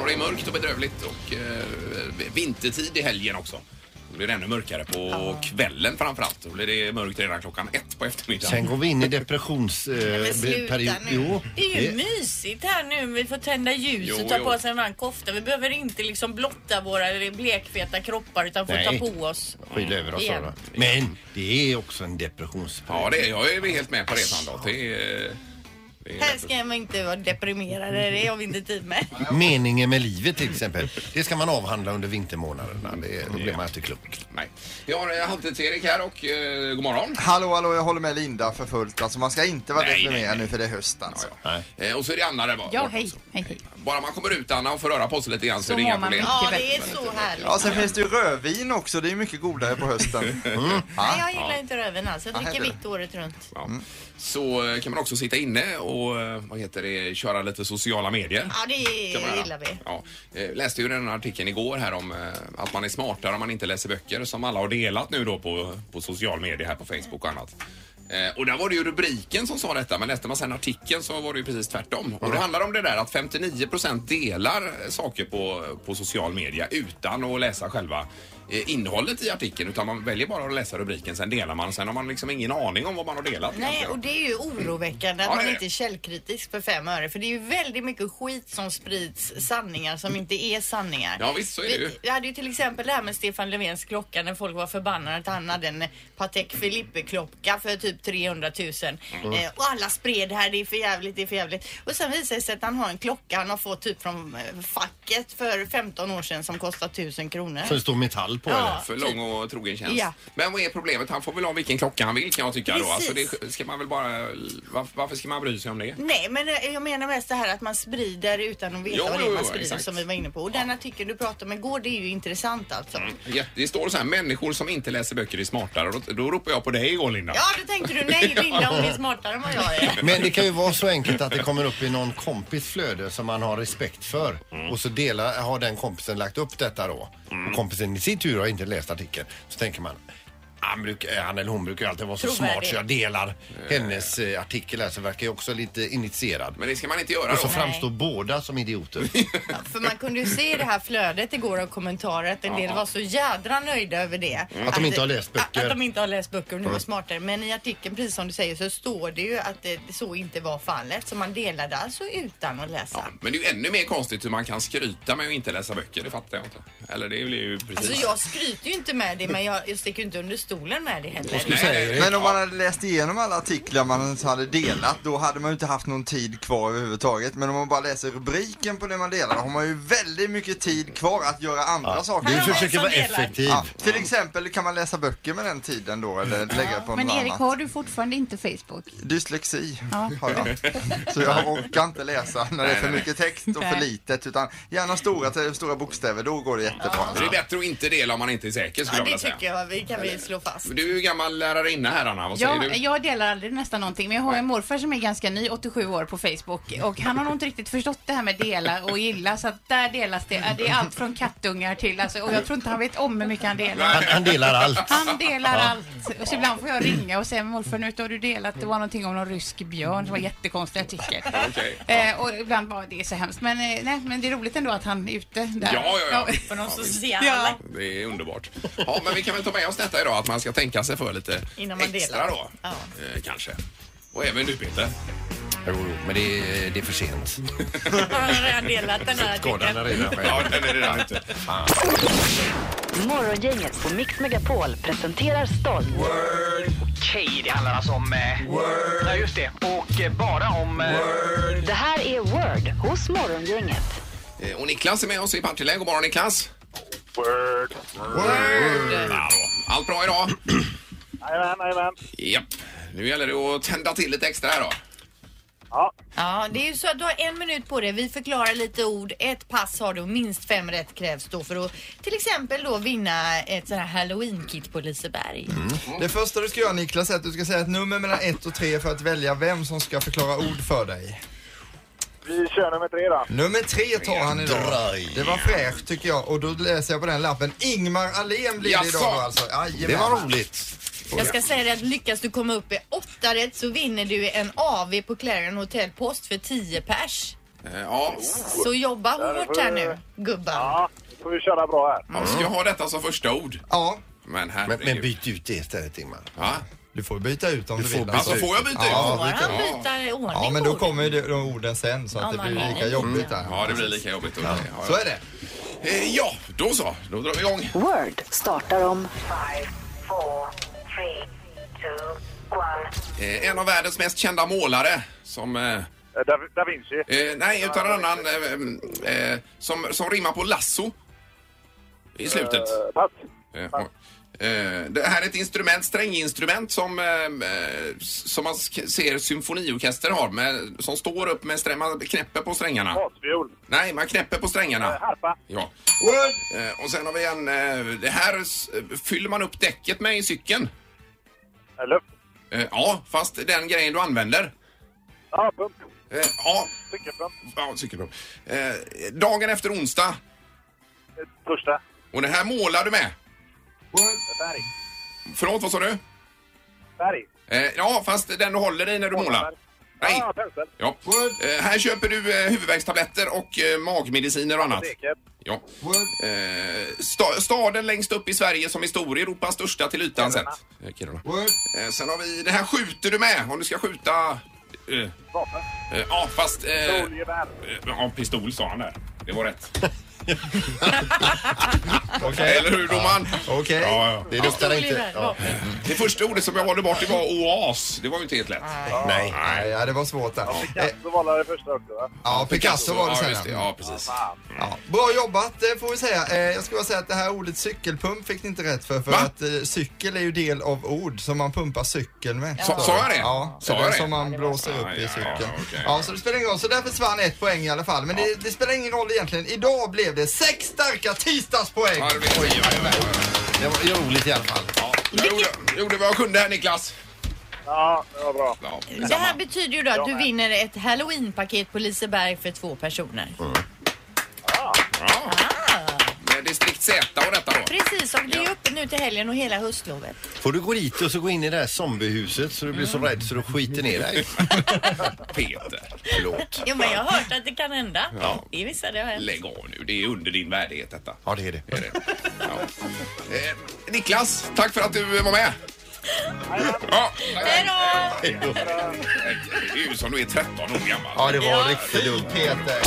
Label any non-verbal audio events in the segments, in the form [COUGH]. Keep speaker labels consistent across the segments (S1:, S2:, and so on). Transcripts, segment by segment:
S1: Och det är mörkt och bedrövligt och eh, vintertid i helgen också. Då blir det ännu mörkare på kvällen framförallt. Då blir det mörkt redan klockan ett på
S2: Sen
S1: eftermiddagen.
S2: går vi in i depressionsperiod.
S3: Men
S2: Eh, be-
S3: sluta
S2: period.
S3: nu.
S2: jo,
S4: Det är ju mysigt här nu. Vi får tända ljus
S1: Jo,
S4: och ta
S1: jo.
S4: på oss en varm kofta. Vi behöver inte liksom blotta våra blekfeta kroppar utan får
S2: Nej.
S4: ta på oss.
S2: skyll över oss
S4: Igen.
S2: alla. Men det är också en depressionsperiod.
S1: Ja, det är, jag är helt med på det Sandholt. Det är, det är
S4: Här ska man inte vara deprimerad. Det har vi inte tid med.
S2: Meningen med livet till exempel. Det ska man avhandla under vintermånaderna. Det, då blir man inte klok.
S1: Nej. Vi har eh, Halvtids-Erik här och eh, god morgon.
S5: Hallå, hallå, jag håller med Linda för fullt. Alltså man ska inte vara
S1: Nej, nej,
S5: deprimerad
S1: nej.
S5: nu för det är höst alltså.
S1: Ja, ja. Eh, Och så är det Anna där bak-
S6: Ja,
S1: borta
S6: hej,
S1: också. Eh,
S6: hej, hej.
S1: Bara man kommer ut Anna och får röra på sig lite grann så,
S6: Så
S1: är det
S6: mår
S1: inga
S6: man
S1: problem.
S6: bra.
S4: Ja, det är så härligt.
S5: Ja, sen finns det ju rödvin också. Det är mycket godare på hösten.
S1: Mm.
S4: Nej, jag gillar inte röven alls. Jag
S5: Nej,
S4: dricker
S5: det-
S4: vitt året runt.
S1: Ja. Så eh, kan man också sitta inne och eh, vad heter det, köra lite sociala medier.
S4: Ja, det
S1: kan man göra.
S4: gillar vi.
S1: Ja. Eh, Läste ju den här artikeln igår här om eh, att man är smartare om man inte läser böcker som alla har delat nu då på, på social media här på Facebook och annat. Eh, Och där var det ju rubriken som sa detta men läste man sen artikeln så var det ju precis tvärtom. Och det handlar om det där att 59% delar eh, saker på, på social media utan att läsa själva eh, innehållet i artikeln utan man väljer bara att läsa rubriken sen delar man och sen har man liksom ingen aning om vad man har delat.
S4: Nej, och det är ju oroväckande att
S1: Ja, det är
S4: man
S1: det.
S4: inte är källkritisk för fem öre. För det är ju väldigt mycket skit som sprids, sanningar som inte är sanningar.
S1: Ja, visst, så är det ju.
S4: Vi, vi hade ju till exempel det här med Stefan Löfvens klocka när folk var förbannade att han hade en Patek Philippe-klocka för typ 300 000.
S1: Mm.
S4: Eh, och alla spred det här, det är för jävligt, det är för jävligt. Och sen visade det sig att han har en klocka han har fått typ från eh, facket för 15 år sedan som kostar 1000 kronor.
S2: Så det står metall på
S4: Ja.
S2: eller?
S1: För lång och trogen tjänst.
S4: Typ. Ja.
S1: Men vad är problemet? Han får väl ha vilken klocka han vill kan jag tycka då.
S4: Precis.
S1: Alltså det ska man väl bara... Varför, varför ska man bry sig om det?
S4: Nej, men eh, jag menar mest det här att man sprider utan att veta
S1: Jo,
S4: vad det
S1: jo,
S4: är
S1: jo,
S4: man sprider
S1: exakt.
S4: som vi var inne på. Och den artikeln du pratade om igår, det är ju intressant alltså.
S1: Ja, Det står så här, människor som inte läser böcker är smartare. Då, då ropar jag på dig igår Linda.
S4: Ja, då tänkte du nej Linda, hon är smartare än vad
S2: [LAUGHS]
S4: jag är.
S2: Men det kan ju vara så enkelt att det kommer upp i någon kompis flöde som man har respekt för och så delar, har den kompisen lagt upp detta då och kompisen i sin tur har inte läst artikeln. Så tänker man han, bruk, eh, han eller hon brukar ju alltid vara så
S4: Trovärdig.
S2: smart så jag delar hennes eh, artikel här så verkar jag också lite initierad.
S1: Men det ska man inte göra
S2: Och så
S1: då.
S2: framstår båda som idioter.
S4: Ja, För man kunde ju se i det här flödet igår av kommentarer att en del var så jädra nöjda över det.
S2: Att de inte har läst böcker.
S4: Att de inte har läst böcker och nu är smartare. Men i artikeln, precis som du säger, så står det ju att det så inte var fallet. Så man delade alltså utan att läsa.
S1: Ja, Men det är ju ännu mer konstigt hur man kan skryta med att inte läsa böcker. Det fattar jag inte. Eller det blir ju precis...
S4: Alltså jag skryter ju inte med det men jag, jag sticker ju inte under stolen med det heller.
S2: Du säger det.
S5: Men om man hade läst igenom alla artiklar man hade delat, då hade man ju inte haft någon tid kvar överhuvudtaget. Men om man bara läser rubriken på det man delar, då har man ju väldigt mycket tid kvar att göra andra saker.
S2: Du
S4: Här har vi
S2: försöker
S4: som
S2: vara
S4: delar.
S2: effektiv.
S5: Ja, till exempel kan man läsa böcker med den tiden då, eller
S1: Mm.
S5: lägga på
S6: Men
S5: något
S6: Erik,
S5: annat.
S6: har du fortfarande inte Facebook?
S5: Dyslexi
S6: Ja.
S5: har jag. Så jag orkar inte läsa när det är för mycket text och för
S6: Nej.
S5: litet, utan gärna stora, stora bokstäver, då går det jättebra.
S1: Det är bättre att inte dela om man inte är säker skulle
S4: Ja,
S1: jag
S4: det
S1: vilja säga.
S4: tycker jag vi kan vi slå fast.
S1: Du är ju gammal lärarinna här Anna. Vad säger
S6: Ja,
S1: du?
S6: jag delar aldrig nästan någonting, men jag har en morfar som är ganska ny, 87 år, på Facebook. Och han har nog inte riktigt förstått det här med dela och gilla, så att där delas det. Det är allt från kattungar till, alltså, och jag tror inte han vet om hur mycket han delar.
S2: Han, han delar
S4: [LAUGHS]
S2: allt.
S6: Han delar allt. Och så ibland får jag ringa och säga, morfar nu har du delat, det var någonting om någon rysk björn, som var en jättekonstig artikel.
S1: Okej.
S6: Eh, och ibland bara, det är så hemskt. Men, eh, nej, men det är roligt ändå att han är ute där.
S1: Ja, ja, ja.
S4: På någon
S1: visst.
S4: social.
S6: Ja.
S1: Det är underbart. Ja, men vi kan väl ta med oss detta idag att man ska tänka sig för lite
S4: Innan man
S1: extra
S4: delar.
S1: då.
S4: Ja.
S1: Eh, kanske. Och även du
S4: [LAUGHS]
S1: Peter.
S2: Jo, jo, men det är, det är för sent.
S4: Har han redan delat den här
S2: Skadan är
S4: artikeln?
S2: redan skedd.
S1: Ja, den är det där ute.
S7: Morgongänget på Mix Megapol presenterar stolt.
S8: Okej, det handlar alltså om... Eh, Word. Ja, just det. Och eh, bara om... Eh,
S7: Det här är Word hos Morgongänget.
S1: Eh, Och Niklas är med oss i Partille. God morgon Niklas.
S9: Word.
S1: Ja, då. Allt bra idag?
S9: Jajamän, jajamän.
S1: Japp. Nu gäller det att tända till lite extra här då.
S9: Ja,
S4: Ja, det är ju så att du har en minut på dig. Vi förklarar lite ord. Ett pass har du och minst fem rätt krävs då för att till exempel då vinna ett sånt här halloween-kit på Liseberg.
S5: Det första du ska göra Niklas är att du ska säga ett nummer mellan 1 och 3 för att välja vem som ska förklara ord för dig.
S9: vi kör nummer tre då.
S5: Nummer 3 tar han idag. Det var fräscht tycker jag och då läser jag på den lappen. Ingmar Ahlén blir det
S1: Jaså?
S5: idag då alltså. Jajamän.
S2: Det var roligt.
S4: Jag ska säga det att lyckas du komma upp i åtta rätt så vinner du en AV på Clarion Hotel Post för 10 pers.
S1: Eh, Ja,
S4: Så jobba hårt här nu, gubbar.
S9: Ja, nu får vi köra bra här.
S1: man ska ha detta som första ord.
S5: Ja,
S1: Men
S2: Men,
S1: herregud.
S2: men byt ut det istället Ingmar.
S1: Ja.
S5: du får byta ut om
S2: Du
S5: du,
S2: får
S5: vill.
S2: byta
S1: Alltså får jag byta
S5: Ja,
S1: ut?
S4: Får han byta ordning
S5: Ja, men då
S4: orden?
S5: kommer ju de- de orden sen så att
S4: Ja,
S5: det
S4: man
S5: blir
S4: hinner
S5: lika
S4: inte.
S5: jobbigt där.
S1: Mm. Ja, det blir lika jobbigt. Ja. Ja,
S5: Så är det.
S1: Eh, Ja, då så. Då drar vi igång.
S7: Word startar om
S1: Eh, En av världens mest kända målare som... eh,
S9: Eh, Da, da Vinci.
S1: Eh, nej, utan en annan eh, eh, som, som rimmar på lasso i slutet.
S9: Eh, Pass.
S1: Eh, och, eh, det här är ett instrument, stränginstrument som, eh, eh, som man sk- ser symfoniorkester har, med, som står upp med strä- man knäpper på strängarna.
S9: Basfiol.
S1: Nej, man knäpper på strängarna.
S9: Eh, Harpa.
S1: Ja. Eh, och sen har vi en, eh, det här s- fyller man upp däcket med i cykeln.
S9: Eh, Luft.
S1: Eh, ja, fast den grejen du använder.
S9: Ja, pump.
S1: Eh, ja,
S9: Cykelpump.
S1: ja cykelprov. Eh, dagen efter onsdag.
S9: Eh, Torsdag.
S1: Och det här målar du med.
S9: Eh, Färg.
S1: Förlåt, vad sa du?
S9: Färg.
S1: Eh, ja, fast den du håller i när du målar. Nej.
S9: Ja, pensel.
S1: Ja. Eh, här köper du eh, huvudvärkstabletter och eh, magmediciner och annat.
S9: Teket.
S1: Ja. Eh, sta- staden längst upp i Sverige som är stor, Europas största till ytan sett. Eh, Kiruna. Eh, sen har vi, det här skjuter du med om du ska skjuta... eh, eh,
S9: Vapen.
S1: Ja, fast... eh, eh,
S9: Solgevär.
S1: Ja, pistol sa han där. Det var rätt. [LAUGHS]
S5: Okej.
S1: Eller hur domaren?
S5: Okej.
S1: Ja, ja.
S2: Det luktar inte...
S4: Oliver,
S2: Ja.
S4: ja.
S1: Det första ordet som jag valde bort det var oas. Det var ju inte helt lätt.
S5: Ah.
S2: Nej.
S5: Nej, ja, det var svårt där. Eh,
S9: Picasso valade det första också, va?
S5: Ja, Picasso var det
S1: ja,
S5: sen. Ah.
S1: just det. Ja, precis.
S5: Ja, bra jobbat eh, får vi säga. Eh, Jag skulle bara säga att det här ordet cykelpump fick ni inte rätt för. För
S1: Va?
S5: att eh, cykel är ju del av ord som man pumpar cykeln med.
S1: Sa- sa jag det?
S5: Ja,
S1: Sa
S5: sa
S1: jag
S5: det?
S1: det?
S5: som man blåser
S1: Ja,
S5: upp
S1: ja,
S5: i
S1: ja,
S5: cykeln.
S1: okej.
S5: Ja, så det spelar ingen roll. Så där försvann ett poäng i alla fall. Men det, det spelar ingen roll egentligen. Idag blev det sex starka tisdagspoäng.
S1: Ja, det vet jag. Ja, ja, ja.
S2: Det var roligt i alla fall.
S1: Ja, Jag gjorde, jag gjorde vad jag kunde här Niklas.
S9: Ja, det var bra.
S1: Ja,
S4: Det här betyder ju då att du vinner ett halloweenpaket på Liseberg för två personer.
S1: ja.
S4: Ah.
S1: Med distrikt Z och detta då.
S4: Precis, och det är uppe nu till helgen och hela höstlovet.
S2: Får du gå dit och så gå in i det här zombiehuset så du blir så rädd så du skiter ner dig.
S1: Peter, förlåt.
S4: Jo, men jag har hört att det kan hända. Det visade jag väl.
S1: Lägg av nu, det är under din värdighet detta.
S2: Ja, det är det.
S1: Det är det. Ja. Eh, Niklas, tack för att du var med. Ja, tack.
S4: Hej då!
S1: Det är ju som du är 13 år gammal.
S5: Ja, det var riktigt dumt Peter.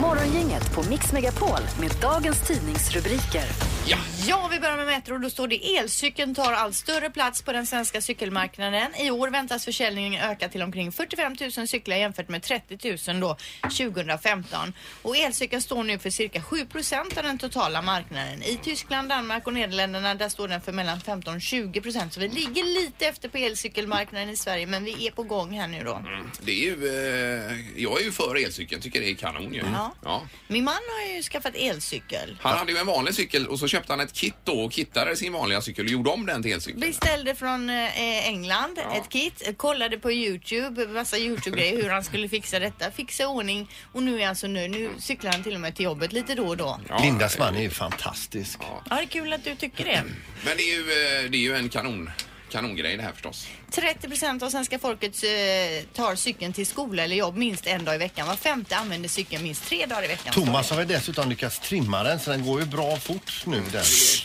S7: Morgongänget på Mix Megapol med dagens tidningsrubriker.
S1: Ja.
S4: Ja, vi börjar med Metro. Då står det elcykeln tar allt större plats på den svenska cykelmarknaden. I år väntas försäljningen öka till omkring 45 000 cyklar jämfört med 30 000 då 2015. Och elcykeln står nu för cirka 7 procent av den totala marknaden. I Tyskland, Danmark och Nederländerna där står den för mellan 15 och 20 procent. Så vi ligger lite efter på elcykelmarknaden i Sverige men vi är på gång här nu då.
S1: Det är ju, eh, jag är ju för elcykeln, tycker det är kanon ju.
S4: Ja.
S1: Ja.
S4: Min man har ju skaffat elcykel.
S1: Han hade ju en vanlig cykel och så köpte han ett kit då och kittade sin vanliga cykel och gjorde om den till elcykel.
S4: Beställde från eh, England ett kit, eh, kollade på Youtube, massa Youtube-grejer hur han skulle fixa detta, fixa i ordning och nu är han så nöjd. Nu cyklar han till och med till jobbet lite då och då.
S1: Ja.
S2: Lindas man är ju fantastisk.
S4: Ja, det är kul att du tycker det.
S1: Men det är ju, eh, det är ju en kanon, kanongrej det här förstås.
S4: 30 procent av svenska folket eh, tar cykeln till skola eller jobb minst en dag i veckan. Var femte använder cykeln minst tre dagar i veckan.
S2: Thomas har väl dessutom lyckats trimma den så den går ju bra fort nu den.
S1: Det,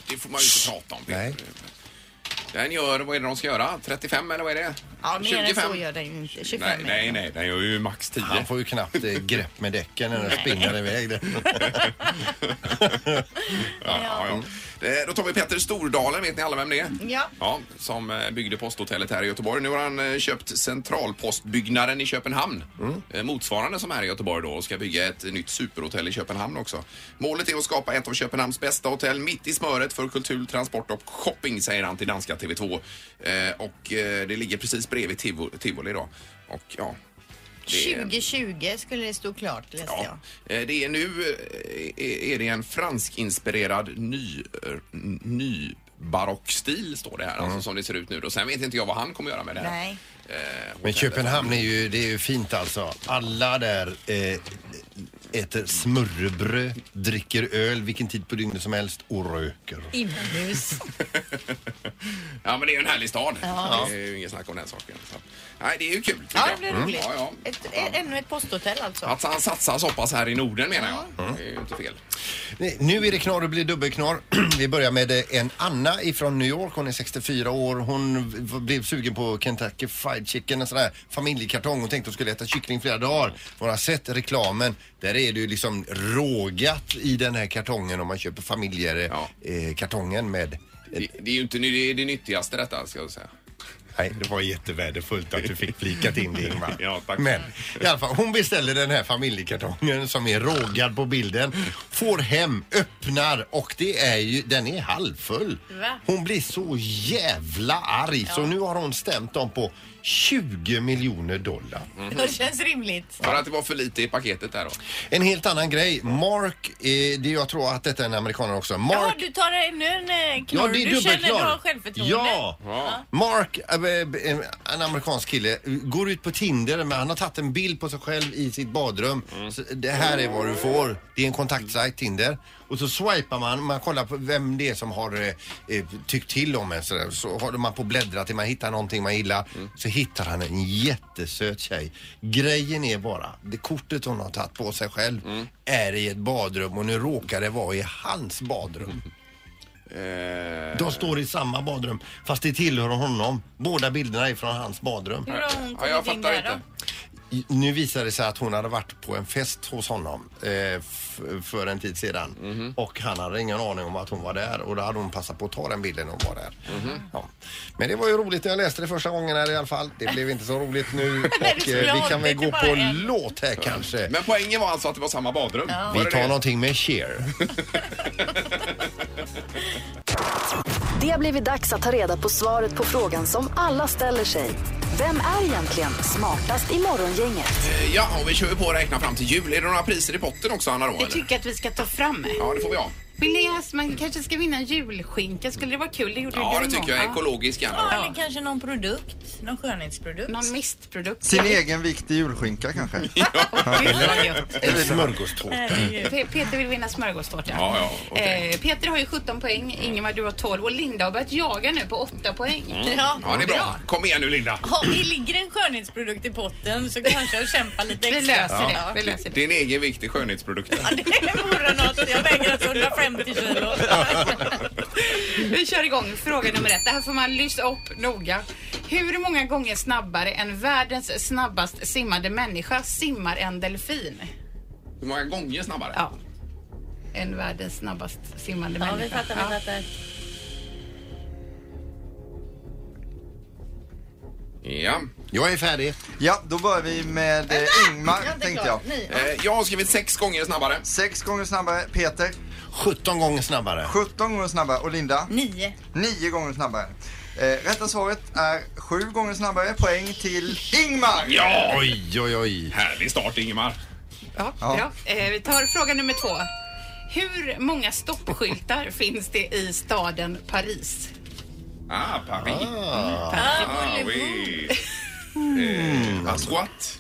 S1: det får man ju inte prata om. Peter.
S2: Nej.
S1: Den gör, vad är det de ska göra? 35 eller vad är det?
S4: Ja, mer än så gör den ju inte. 25
S1: Nej,
S4: är
S1: nej,
S4: det.
S1: nej, den gör ju max 10.
S2: Han får ju knappt eh, grepp med däcken när den springer iväg. den.
S1: Ja, ja, ja. Det- Då tar vi Petter Stordalen, vet ni alla vem det är?
S4: Ja.
S1: ja. Som eh, byggde posthotellet här i Göteborg. Nu har han eh, köpt centralpostbyggnaden i Köpenhamn. Eh, Motsvarande som här i Göteborg då och ska bygga ett nytt superhotell i Köpenhamn också. Målet är att skapa ett av Köpenhamns bästa hotell mitt i smöret för kultur, transport och shopping säger han till danska TV2. Eh, Och eh, det ligger precis bredvid Tivo- Tivoli då. Och ja, det-
S4: 2020 skulle det stå klart läste
S1: Ja.
S4: jag.
S1: Eh, Det är nu eh, är det en franskinspirerad ny, eh, n- ny barockstil står det här,
S2: Mm.
S1: alltså som det ser ut nu då. Sen vet inte jag vad han kommer göra med det här.
S4: Nej.
S1: Eh,
S2: Men Köpenhamn är ju, det är ju fint alltså. Alla där eh, äter smörrebröd, dricker öl vilken tid på dygnet som helst och röker.
S4: Inomhus.
S1: Ja, men det är ju en härlig stad.
S4: Ja.
S1: Det är ju inget snack om den saken. Så. Nej, det är ju kul. tycker
S4: Mm. Ja,
S1: jag.
S4: det blir roligt.
S1: Ja, ja.
S4: Ett, ä- ännu ett posthotell alltså.
S1: Att han satsar så pass här i Norden menar jag.
S4: Mm.
S1: Det är ju inte fel.
S2: Nej, Nu är det knorr och blir dubbelknorr. [CLEARS THROAT] Vi börjar med eh, en Anna ifrån New York. Hon är 64 år. Hon v- blev sugen på Kentucky Fried Chicken, en sån här familjekartong. Hon tänkte hon skulle äta kyckling flera dagar. Hon har sett reklamen. Där är det ju liksom rågat i den här kartongen om man köper familjekartongen med...
S1: Det, det är ju inte det, är det nyttigaste detta ska jag säga.
S2: Nej, det var jättevärdefullt att du fick flikat in det Ingmar.
S1: [LAUGHS] Ja, tack.
S2: Men i alla fall, hon beställer den här familjekartongen som är rågad på bilden. Får hem, öppnar och det är ju, den är halvfull.
S4: Va?
S2: Hon blir så jävla arg så nu har hon stämt dem på 20 miljoner dollar.
S4: Det känns rimligt.
S1: För att det var för lite i paketet där då.
S2: En helt annan grej. Mark, eh, det jag tror att detta är en amerikanare också.
S4: Ja,
S2: Mark
S4: du tar ännu en eh,
S2: Ja,
S4: knorr.
S2: det är
S4: du känner du
S2: dubbelknorr.
S4: har självförtroende.
S2: Ja.
S1: Ja.
S2: Mark, eh, eh, en amerikansk kille, går ut på Tinder men han har tagit en bild på sig själv i sitt badrum. Så eh, det här är vad du får. Det är en kontaktsajt, Tinder. Och så swipar man, man kollar på vem det är som har eh, eh, tyckt till om en sådär. Så håller man på och bläddrar till man hittar någonting man gillar. Så hittar han en jättesöt tjej. Grejen är bara, det kortet hon har tagit på sig själv är i ett badrum och nu råkar det vara i hans badrum.
S1: Eh,
S2: De står i samma badrum fast det tillhör honom. Båda bilderna är från hans badrum.
S4: Hur har hon
S1: ja, jag
S4: kommit in
S1: fattar
S4: där
S1: inte.
S4: då?
S2: I- Nu visar det sig att hon hade varit på en fest hos honom eh, f- för en tid sedan.
S4: Mhm.
S2: Och han hade ingen aning om att hon var där och då hade hon passat på att ta den bilden när hon var där.
S4: Mhm.
S2: Ja. Men det var ju roligt när jag läste det första gången här i alla fall. Det blev inte så roligt
S4: [LAUGHS]
S2: nu.
S4: Nej,
S2: Och
S4: du skulle
S2: eh, vi
S4: ha
S2: kan väl gå
S4: hållit det bara
S2: på
S4: en.
S2: låt här kanske.
S1: Men poängen var alltså att det var samma badrum. Var
S2: Vi
S1: det
S2: tar
S1: det?
S2: någonting med Cher.
S7: Det har blivit dags att ta reda på svaret på frågan som alla ställer sig. Vem är egentligen smartast i Morgongänget?
S1: Eh, Ja, och vi kör ju på att räkna fram till jul. Är det några priser i potten också Anna då?
S6: Det
S1: Eller?
S6: tycker jag att vi ska ta fram.
S1: Ja, det får vi ha.
S6: Billigas, man kanske ska vinna en julskinka. Skulle det vara kul? Det gjorde
S1: Ja,
S6: du
S1: det
S6: en
S1: tycker
S6: gång.
S1: jag.
S6: Ja.
S1: Ekologisk gärna.
S4: Ja, eller kanske någon produkt. Någon skönhetsprodukt.
S6: Någon mistprodukt.
S5: Sin egen vikt i julskinka kanske?
S2: En
S4: [LAUGHS]
S2: smörgåstårta.
S6: Pe- Peter vill vinna smörgåstårta.
S1: Ja, ja, okej.
S6: eh, Peter har ju 17 poäng, Ingemar du har 12 och Linda har börjat jaga nu på 8 poäng.
S1: Ja, det är bra. Kom igen nu Linda.
S4: Om det ligger en skönhetsprodukt i potten så kanske jag kämpar lite
S6: Vi
S4: extra.
S6: löser det. Vi löser det.
S1: Din egen vikt i skönhetsprodukter.
S4: Det [LAUGHS] vore något. Jag väger alltså 150 kilo.
S6: Vi kör igång fråga nummer ett. Det här får man lyssna upp noga. Hur många gånger snabbare än världens snabbast simmande människa simmar en delfin?
S1: Hur många gånger snabbare?
S6: Ja. En världens snabbast simmande
S4: Ja, vi
S6: människa.
S4: fattar, vi fattar.
S1: Ja.
S2: Jag är färdig.
S5: Ja, då börjar vi med eh,
S4: Jag är
S5: Ingmar
S4: inte
S5: tänkte
S4: klar.
S5: jag.
S4: Ni.
S1: Eh, Jag har skrivit sex gånger snabbare.
S5: Sex gånger snabbare Peter,
S2: 17 gånger snabbare.
S5: 17 gånger snabbare och Linda,
S4: Nio.
S5: 9 gånger snabbare. Eh, rätta svaret är 7 gånger snabbare. Poäng till Ingmar!
S1: Ja!
S2: Oj, oj, oj.
S1: Härlig start Ingemar.
S6: Ja,
S5: Ja.
S6: Bra. Eh, vi tar fråga nummer två. Hur många [LAUGHS] stoppskyltar finns det i staden Paris?
S1: Ah, Paris. Ah, oui. Eh, Asquat.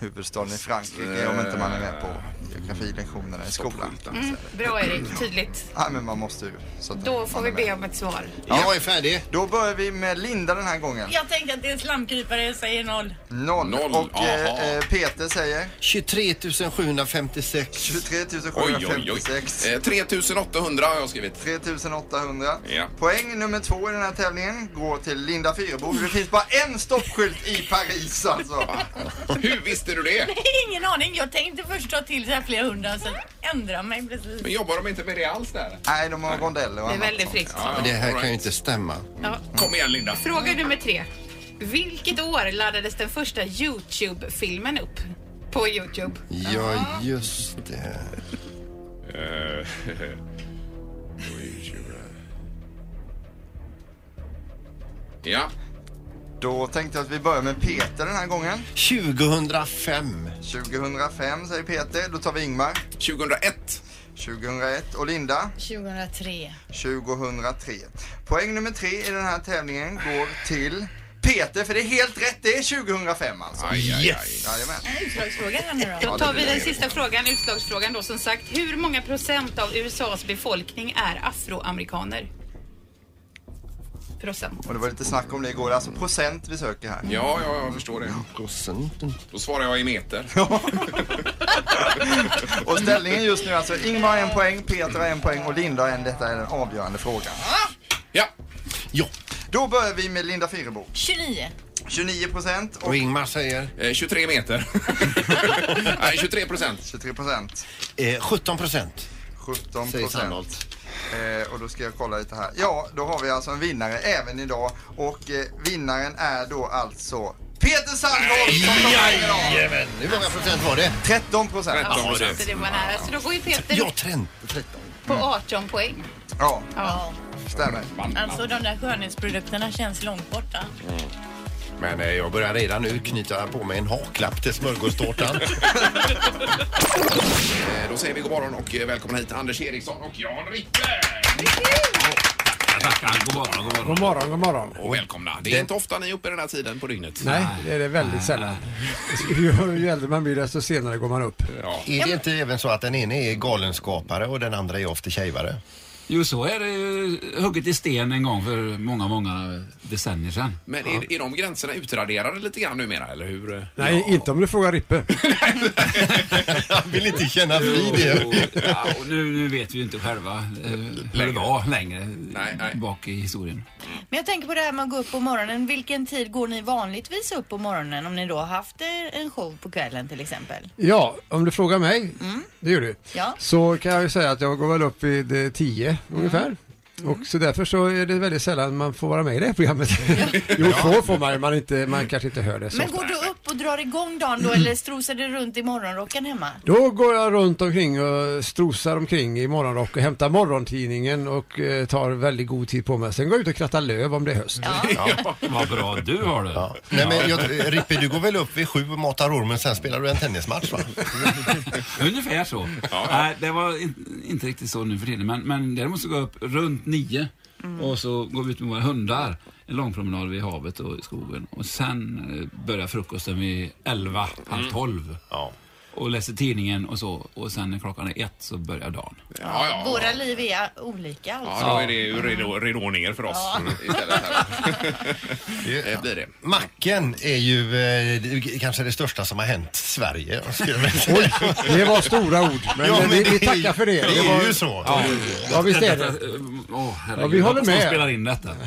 S5: Huvudstaden i Frankrike om inte man är med på geografilektionerna i skolan.
S6: Mm, bra Erik, tydligt.
S5: Ja, men man måste ju. så att
S6: Då
S5: man
S6: får
S5: är
S6: vi
S5: med.
S6: be om ett svar.
S2: Jag är färdig.
S5: Då börjar vi med Linda den här gången.
S4: Jag tänker att det är en slamkrypare. Jag säger noll.
S5: Noll.
S1: Noll,
S5: Och
S1: aha.
S5: eh, eh, Peter säger
S2: 23 756.
S5: 23
S1: Oj, oj, oj.
S5: 756.
S1: Eh, 3800 har jag skrivit.
S5: 3800.
S1: Ja.
S5: Poäng nummer två i den här tävlingen går till Linda Fyrebo. Det finns bara en stoppskylt i
S1: [LAUGHS]
S5: Paris alltså.
S1: Hur visste du det?
S4: Ingen aning. Jag tänkte först ta till så här flera hundra så ändra mig precis.
S1: Men jobbar de inte med det alls där?
S5: Nej, de har rondeller och
S6: Det är
S5: annat
S6: väldigt
S5: sånt.
S6: fritt.
S1: Ja,
S2: Det här
S1: all
S2: kan ju
S1: right.
S2: inte stämma.
S6: Ja.
S1: Kom igen Linda.
S6: Fråga nummer tre. Vilket år laddades den första Youtube-filmen upp? På Youtube.
S2: Ja, just det.
S1: Eh, Ja,
S5: Då tänkte jag att vi börjar med Peter den här gången.
S2: 2005.
S5: 2005 säger Peter. Då tar vi Ingmar.
S1: 2001.
S5: 2001 och Linda
S4: 2003.
S5: 2003. Poäng nummer tre i den här tävlingen går till Peter, för det är helt rätt. Det är 2005 alltså.
S1: Aj, aj, aj.
S5: Jajamän.
S4: Utslagsfråga här nu då.
S6: [LAUGHS]
S5: Ja,
S3: Då
S5: det
S3: tar vi
S5: blir
S3: den
S5: det.
S3: sista frågan, utslagsfrågan då som sagt. Hur många procent av USAs befolkning är afroamerikaner? Procent.
S5: Och det var lite snack om det igår. Det är Alltså procent vi söker här.
S1: Ja, ja, jag förstår det. Då svarar jag i meter.
S5: Och ställningen just nu är alltså Ingmar har en poäng, Peter har en poäng och Linda har en. Detta är den avgörande frågan.
S1: Ja,
S2: Ja.
S5: Då börjar vi med Linda Fyrebo.
S4: 29.
S5: 29 procent och
S2: Och Ingmar säger?
S1: eh, 23
S10: [LAUGHS]
S1: meter. Nej, 23 procent.
S5: 23 procent.
S2: Eh, 17 procent.
S5: 17
S2: Säger
S5: procent.
S2: Sandholt.
S5: Eh, och då ska jag kolla lite här. Ja, då har vi alltså en vinnare även idag. Och eh, vinnaren är då alltså Peter Sandholt som tar poäng idag.
S2: Jajamän. Hur många procent var det?
S5: 13 procent.
S1: Ja,
S3: Ja,
S1: det-
S3: så det var nära. Så då går ju Peter
S2: Ja, 13.
S3: på 18 poäng.
S5: Ja,
S3: Ja.
S5: stämmer.
S4: Alltså de där skönhetsprodukterna känns långt borta.
S2: Men eh, jag börjar redan nu knyta på mig en haklapp till smörgåstårtan.
S1: Eh, Då säger vi god morgon och eh, välkomna hit Anders Eriksson och Jan Rippe.
S10: God morgon, god morgon.
S11: God morgon, god morgon.
S1: Och välkomna. Det är inte ofta ni är uppe den här tiden på dygnet.
S11: Nej, det är det väldigt sällan. Ju, ju äldre man blir desto senare går man upp.
S1: Ja.
S2: [LAUGHS] Är det inte även så att den ene är galenskapare och den andra är ofta tjejvare?
S10: Jo, så är det ju hugget i sten en gång för många, många decennier sedan.
S1: Men är, är de gränserna utraderade lite grann numera, eller hur? eh?
S11: Nej, inte om du frågar Rippe.
S2: [LAUGHS] Han vill inte kännas vid det.
S10: Och, ja, och nu, nu vet vi ju inte själva eh, hur det
S1: Längre.
S10: var längre
S1: Nej, nej.
S10: bak i historien.
S4: Men jag tänker på det här med att gå upp på morgonen. Vilken tid går ni vanligtvis upp på morgonen om ni då har haft eh, en show på kvällen till exempel?
S11: Ja, om du frågar mig, det gör du,
S4: Mm. Ja. Mm.
S11: så kan jag ju säga att jag går väl upp vid eh, 10 ungefär. Och så därför så är det väldigt sällan man får vara med i det
S4: [LAUGHS]
S11: här programmet. jo, får, får man, man, inte, man kanske inte hör det så
S4: Men går du upp och drar igång dagen då eller strosar du runt i morgonrocken hemma?
S11: Då går jag runt omkring och strosar omkring i morgonrock och hämtar morgontidningen och eh, tar väldigt god tid på mig. Sen går jag ut och krattar löv om det är höst.
S10: Vad bra du har det.
S2: Ja. Nej, men jag, Rippe, du går väl upp vid sju och matar ormen, sen spelar du en tennismatch [LAUGHS] va?
S10: Ungefär så. Nej, det var in, inte riktigt så nu för tiden. Men, men däremot så går jag upp runt nio och så går vi ut med våra hundar en lång promenad vid havet och i skogen. Och sen eh, börjar frukosten vid elva, halv tolv.
S2: Ja.
S10: Och läser tidningen och så. Och sen när klockan är ett så börjar dagen.
S1: Ja, ja.
S4: Våra liv är olika alltså.
S1: Ja, då är det ju redo- redordningar för oss istället.
S10: [LAUGHS]
S1: Här. det blir det.
S2: Macken är ju eh, det- kanske det största som har hänt Sverige. skulle jag vilja säga.
S11: Det var stora ord, men,
S2: Ja,
S11: vi, vi
S2: är ju-
S11: tackar för det.
S2: Det
S11: var,
S2: är ju så.
S11: ja, visst är det.
S10: Eh, Åh, herregud.
S11: Ja, vi håller
S10: Jag hoppas de
S11: med.
S10: spelar in detta.
S1: [LAUGHS]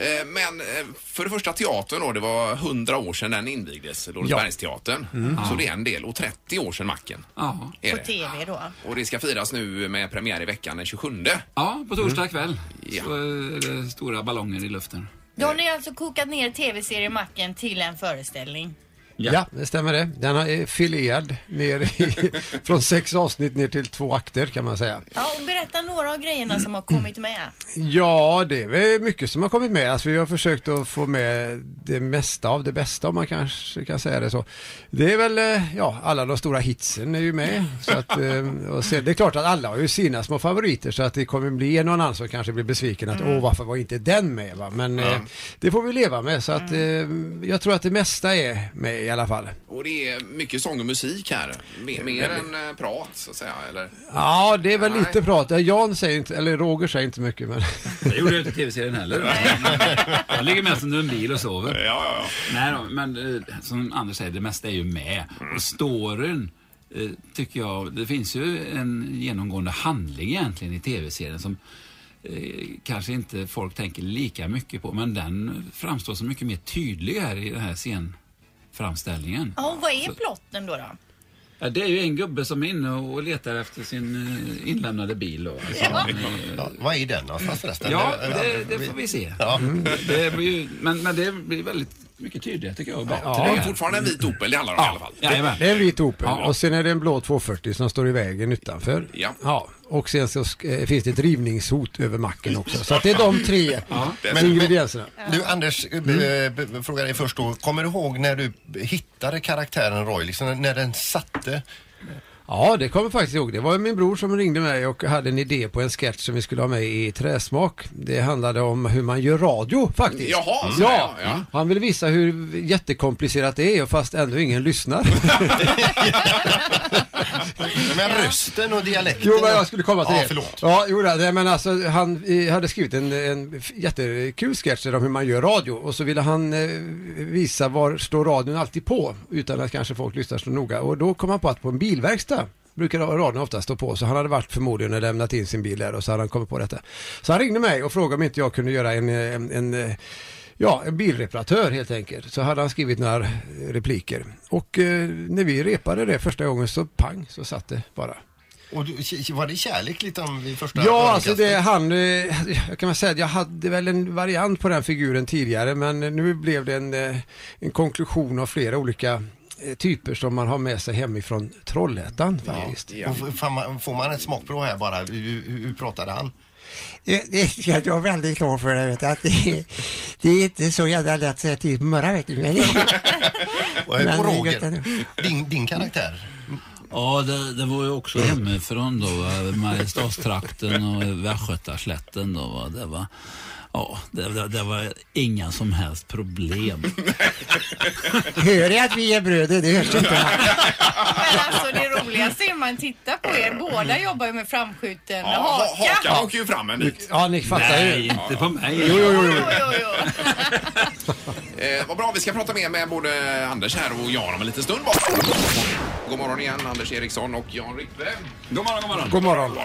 S1: Eh, Men eh, för det första teatern då, det var 100 år sedan den invigdes, Lorensbergsteatern. Så det är en del och 30 år sedan Macken.
S10: Ja.
S1: Är
S4: På
S1: det.
S4: TV då.
S1: Och det ska firas nu med premiär i veckan den 27.
S10: ja, på torsdag kväll
S1: Ja.
S10: så är det stora ballonger i luften.
S4: Då har ni alltså kokat ner TV-seriemacken till en föreställning.
S11: Ja, det stämmer det. Den är filerad ner i, [LAUGHS] från sex avsnitt ner till två akter kan man säga.
S4: Ja, och berätta några av grejerna som har kommit med.
S11: Ja, det är väl mycket som har kommit med. Alltså, vi har försökt att få med det mesta av det bästa om man kanske kan säga det så. Det är väl, eh, ja, alla de stora hitsen är ju med. Så att, eh, och sen, det är klart att alla har ju sina små favoriter så att det kommer bli någon annan som kanske blir besviken att åh, varför var inte den med? Va? Men eh, det får vi leva med så att eh, jag tror att det mesta är med i alla fall.
S1: Och det är mycket sång och musik här. Mer, mer än eh, prat så att säga. Eller?
S11: Ja, det är väl
S1: Nej.
S11: lite prat. Jan säger inte, eller Roger säger inte mycket men
S10: Det gjorde jag inte i tv-serien heller. Jag ligger mest under en bil och sover.
S1: Ja, ja, ja.
S10: Nej då, men eh, som Anders säger, det mesta är ju med.
S1: Mm.
S10: Och storyn eh, tycker jag, det finns ju en genomgående handling egentligen i tv-serien som eh, kanske inte folk tänker lika mycket på, men den framstår som mycket mer tydlig här i den här scenframställningen.
S4: Ja, och vad är plotten då? då?
S10: Ja, det är ju en gubbe som är inne och letar efter sin eh, inlämnade bil. Då, alltså, han, eh,
S2: Ja, vad är den någonstans förresten?
S10: Ja, det, det får vi se. Mm.
S2: Ja.
S10: Det blir ju, men, men det blir väldigt mycket tydligare tycker jag. och Bättre.
S1: Det är fortfarande en vit Opel det handlar om i alla fall.
S10: Jajamän.
S11: Det är en vit Opel
S10: Ja.
S11: och sen är det en blå 240 som står i vägen utanför.
S1: Ja.
S11: och sen så sk- eh, finns det ett rivningshot över macken också. Så att det är
S1: [LAUGHS]
S11: de tre ingredienserna.
S2: Du Anders,
S11: Mm.
S2: eh, b- b- frågar dig först då. Kommer du ihåg när du hittade karaktären Roy? Liksom när den satte?
S11: Ja, det kommer jag faktiskt ihåg. Det var min bror som ringde mig och hade en idé på en sketch som vi skulle ha med i Träsmak. Det handlade om hur man gör radio faktiskt.
S1: Jaha, så
S11: ja.
S1: ja, ja.
S11: Han ville visa hur jättekomplicerat det är fast ändå ingen lyssnar. [LAUGHS]
S2: Men rösten och dialekten.
S11: Jo, men jag skulle komma till
S2: ja,
S11: det.
S2: Förlåt.
S11: Ja, jo, då, nej, men alltså han eh, hade skrivit en, en f- jättekul sketch där om hur man gör radio och så ville han eh, visa var står radion alltid på utan att kanske folk lyssnar så noga och då kom han på att på en bilverkstad brukar radion ofta stå på så han hade varit förmodligen och lämnat in sin bil där och så hade han kommit på detta. Så han ringde mig och frågade om inte jag kunde göra en, eh, en, en eh, Ja, en bilreparatör helt enkelt. Så hade han skrivit några repliker. Och eh, när vi repade det första gången så pang så satt det bara.
S2: Och du, k- var det kärlek lite om vid första
S11: Ja, alltså
S2: ögonkastet?
S11: det, han, eh, jag kan väl säga att jag hade väl en variant på den figuren tidigare men nu blev det en, eh, en konklusion av flera olika eh, typer som man har med sig hemifrån Trollhättan faktiskt.
S2: Och f- får man- Får man ett smakprov här bara? Hur, hur hur pratade han?
S12: Det, det jag är väldigt klar för det, vet du, att det, det är inte så jävla lätt att säga till på morgonen, vet du. Men,
S11: [LAUGHS]
S2: Och, eh,
S12: men
S2: på
S12: det är gott
S2: Roger,
S12: ändå.
S2: din, din karaktär.
S10: Ja, det, det var ju också hemifrån då, va? Mariestadstrakten och Västgötaslätten då. Va? Det var, ja, det, det, det var inga som helst problem.
S12: Hör jag att vi är bröder? Det hörs inte. va?
S4: Men alltså det roligaste är man tittar på er. Båda jobbar ju med framskjuten
S1: Ja, ha-
S4: haka.
S1: Hakan åker ju fram en bit.
S11: Ja, ni fattar
S10: Nej,
S11: ju.
S10: inte på mig.
S11: Jo, jo, jo, jo.
S1: Eh, vad bra, vi ska prata mer med både Anders här och Jan om en liten stund bara. God morgon igen, Anders Eriksson och Jan Rippe. God morgon, god morgon.
S11: God morgon.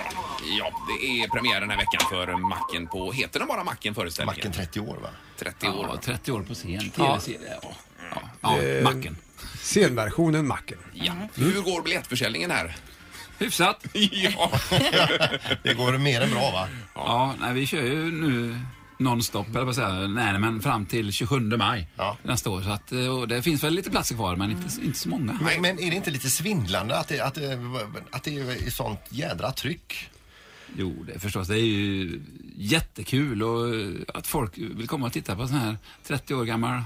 S1: Ja, det är premiär den här veckan för Macken på, heter den bara Macken föreställningen?
S2: Macken 30 år va?
S1: 30 år.
S10: Ja, 30 år på scen,
S11: Ja.
S10: tv-serie. Ja. Ja. Ja.
S11: Eh,
S10: Macken.
S11: Scenversionen Macken.
S1: Ja. Hur går biljettförsäljningen här?
S10: Hyfsat.
S1: [LAUGHS] ja.
S2: Det går mer än bra va?
S10: Ja, nej, vi kör ju nu nonstop, eller vad säger jag? Nej, men fram till 27 maj
S2: Ja.
S10: nästa år. Så att, eh, och det finns väl lite platser kvar, men inte, inte så många.
S2: Men, men är det inte lite svindlande att det, att, det, att det är sånt jädra tryck?
S10: Jo, det är förstås. Det är ju jättekul och eh, att folk vill komma och titta på sån här 30 år gammal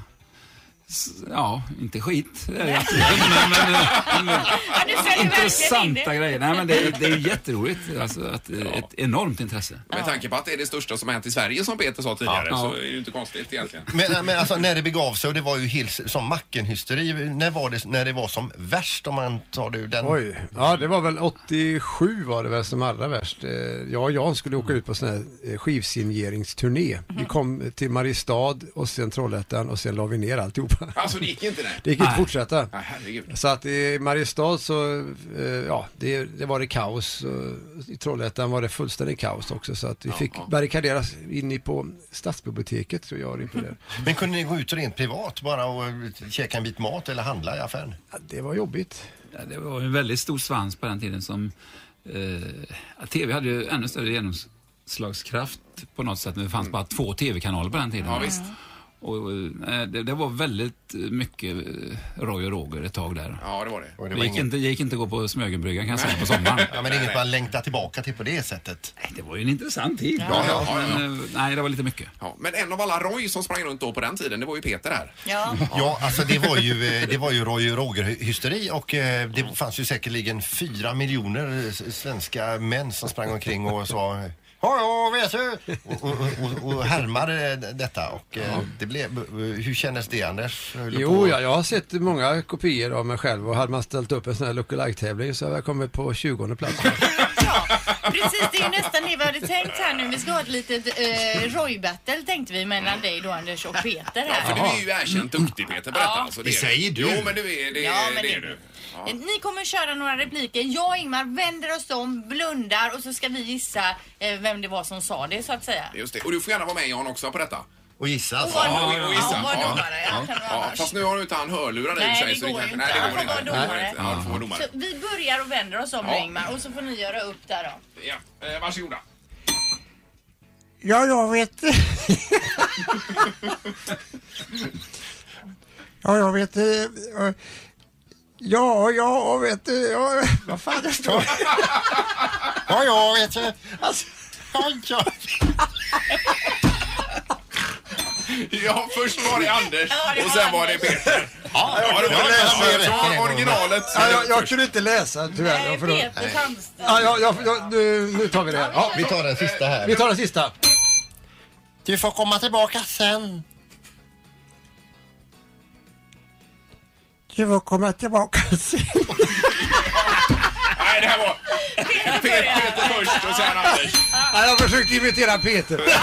S10: s- Ja, inte skit. det
S2: [LAUGHS]
S10: är det absolut, men, men, eh, men,
S4: Ja, du följer verkligen in
S10: intressanta
S4: det.
S10: grejer. Nej, men det, är- det är ju jätteroligt. Alltså, att, eh, ett enormt intresse.
S1: Med tanke på att det är det största som har hänt i Sverige som Peter sa tidigare
S10: Ja.
S1: så är det ju inte konstigt egentligen.
S2: Men, men alltså när det begav sig och det var ju helt som Macken-hysteri. När var det, när det var som värst om man tar det ur den?
S11: Oj, ja det var väl 87 var det väl som allra värst. Eh, Jag och Jan skulle åka ut på sån här eh, skivsigneringsturné. Vi kom till Mariestad och sen Trollhättan och sen la vi ner alltihopa.
S1: [LAUGHS] Alltså det gick inte
S11: [LAUGHS]
S1: det.
S11: Det gick inte
S10: Nej.
S11: att fortsätta.
S1: Nej, herregud.
S11: Så att i Mariestad så, eh, ja, det, det var det kaos. Och I Trollhättan var det fullständigt kaos också så att vi fick barrikaderas in i på stadsbiblioteket tror jag. och in på Det.
S2: Men kunde ni gå ut rent privat bara och käka en bit mat eller handla i affären?
S11: Ja, det var jobbigt.
S10: Ja, det var en väldigt stor svans på den tiden som... Eh, ja, TV hade ju ännu större genomslagskraft på något sätt. men Det fanns bara två TV-kanaler på den tiden.
S1: Mm. Ja, visst.
S10: Och, eh, det, det var väldigt mycket eh, Roy och Roger ett tag där.
S1: Ja, det var det.
S2: Och
S10: Det
S2: det var
S10: gick,
S2: inget,
S10: inte, det gick inte att gå på Smögenbryggan kan jag säga
S1: [LAUGHS]
S10: på sommaren.
S2: ja, men det är inget man längtar tillbaka till på det sättet.
S10: Nej, det var ju en intressant tid.
S1: Ja, ja, ja, ja.
S10: Men, eh, nej, det var lite mycket.
S1: Ja, men en av alla Roy som sprang runt då på den tiden, det var ju Peter här.
S4: Ja.
S2: Ja, alltså det var ju, eh, det var ju Roy och Roger-hysteri och eh, det fanns ju säkerligen fyra miljoner s- svenska män som sprang omkring och sa eh, Hallå, vet du? Och, och, och, och härmade eh, detta. Och, eh, det blev, hur kändes det, Anders? Höll du
S11: Jo,
S2: på-
S11: ja, jag har sett många kopior av mig själv och hade man ställt upp en sån här lookalike tävling så hade jag kommit på 20 plats.
S4: Ja, precis. Det är ju nästan det vi hade tänkt här nu. Vi ska ha ett litet eh, Roy-battle tänkte vi mellan dig då Anders och Peter
S1: För
S4: här.
S1: du är ju erkänt duktig Peter på detta.
S4: Ja.
S1: Alltså,
S2: Det säger du.
S1: Jo, men du är det.
S4: Ja,
S1: det,
S4: men
S1: är
S4: det-
S1: du.
S4: Eh, Ni kommer köra några repliker. Jag och Ingmar vänder oss om, blundar och så ska vi gissa eh, vem det var som sa det så att säga.
S1: Just det. Och du får gärna vara med Jan också på detta.
S2: Och gissa alltså.
S4: Vad
S1: ja, ja,
S4: då-
S1: gissa.
S4: ja, vad
S1: Ja.
S4: domare? Ja, kan vara
S1: Ja,
S4: annars.
S1: fast nu har du inte han hörlurar i
S4: Nej,
S1: sig.
S4: det
S1: så
S4: går
S1: kanske-
S4: ju inte.
S1: Nej, det går
S4: Han får
S1: inte.
S4: vara
S1: Nej,
S4: domare.
S1: Ja, du får vara domare.
S4: Så vi börjar och vänder oss om
S1: Ja.
S4: nu Ingmar och så får ni göra upp där då.
S1: Ja, eh, varsågoda.
S12: [LAUGHS] Ja, jag
S11: [LAUGHS]
S12: vet. ja, jag vet. eh, eh, Ja, jag vet. eh, Ja, vad fan det står.
S2: Ja, ja, vet du. Alltså, ja, ja.
S1: Ja, först var det Anders
S13: Ja, det
S1: och
S13: var
S1: sen var det Peter. Ja, ja, det var det. Jag tar originalet.
S4: Ja, jag, jag kunde inte läsa tyvärr.
S14: Nej,
S4: för då-
S14: Peter
S4: Nej.
S14: Sandström.
S4: ja, jag, jag, jag, nu, nu tar vi det.
S2: Ja, vi tar den sista här.
S4: Vi tar den sista.
S15: Du får komma tillbaka sen. Du får komma tillbaka sen.
S1: Nej, det här var Peter, Peter först och sen Anders.
S4: Ja, jag försökte imitera Peter.
S1: Ja,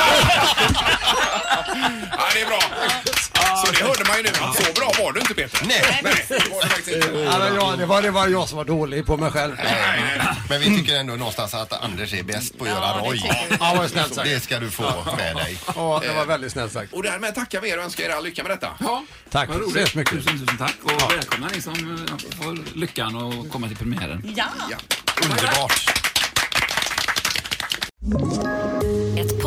S1: det är bra. Så det hörde man ju nu att så bra var du inte Peter.
S2: Nej.
S1: Nej, det var det faktiskt inte.
S4: Ja, men jag, det, var, det var jag som var dålig på mig själv.
S2: Men vi tycker ändå någonstans att Anders är bäst på att göra roj.
S4: Ja, vad snällt sagt.
S2: Det ska du få med dig.
S4: Ja, det var väldigt snällt sagt.
S1: Och därmed tackar vi er och önskar er all lycka med detta.
S4: Tack
S10: Vad
S4: så hemskt
S10: roligt.
S4: mycket.
S10: Tusen, tusen tack och välkomna ni som eh, får lyckan att komma till premiären.
S14: Ja.
S2: Underbart.
S7: Ett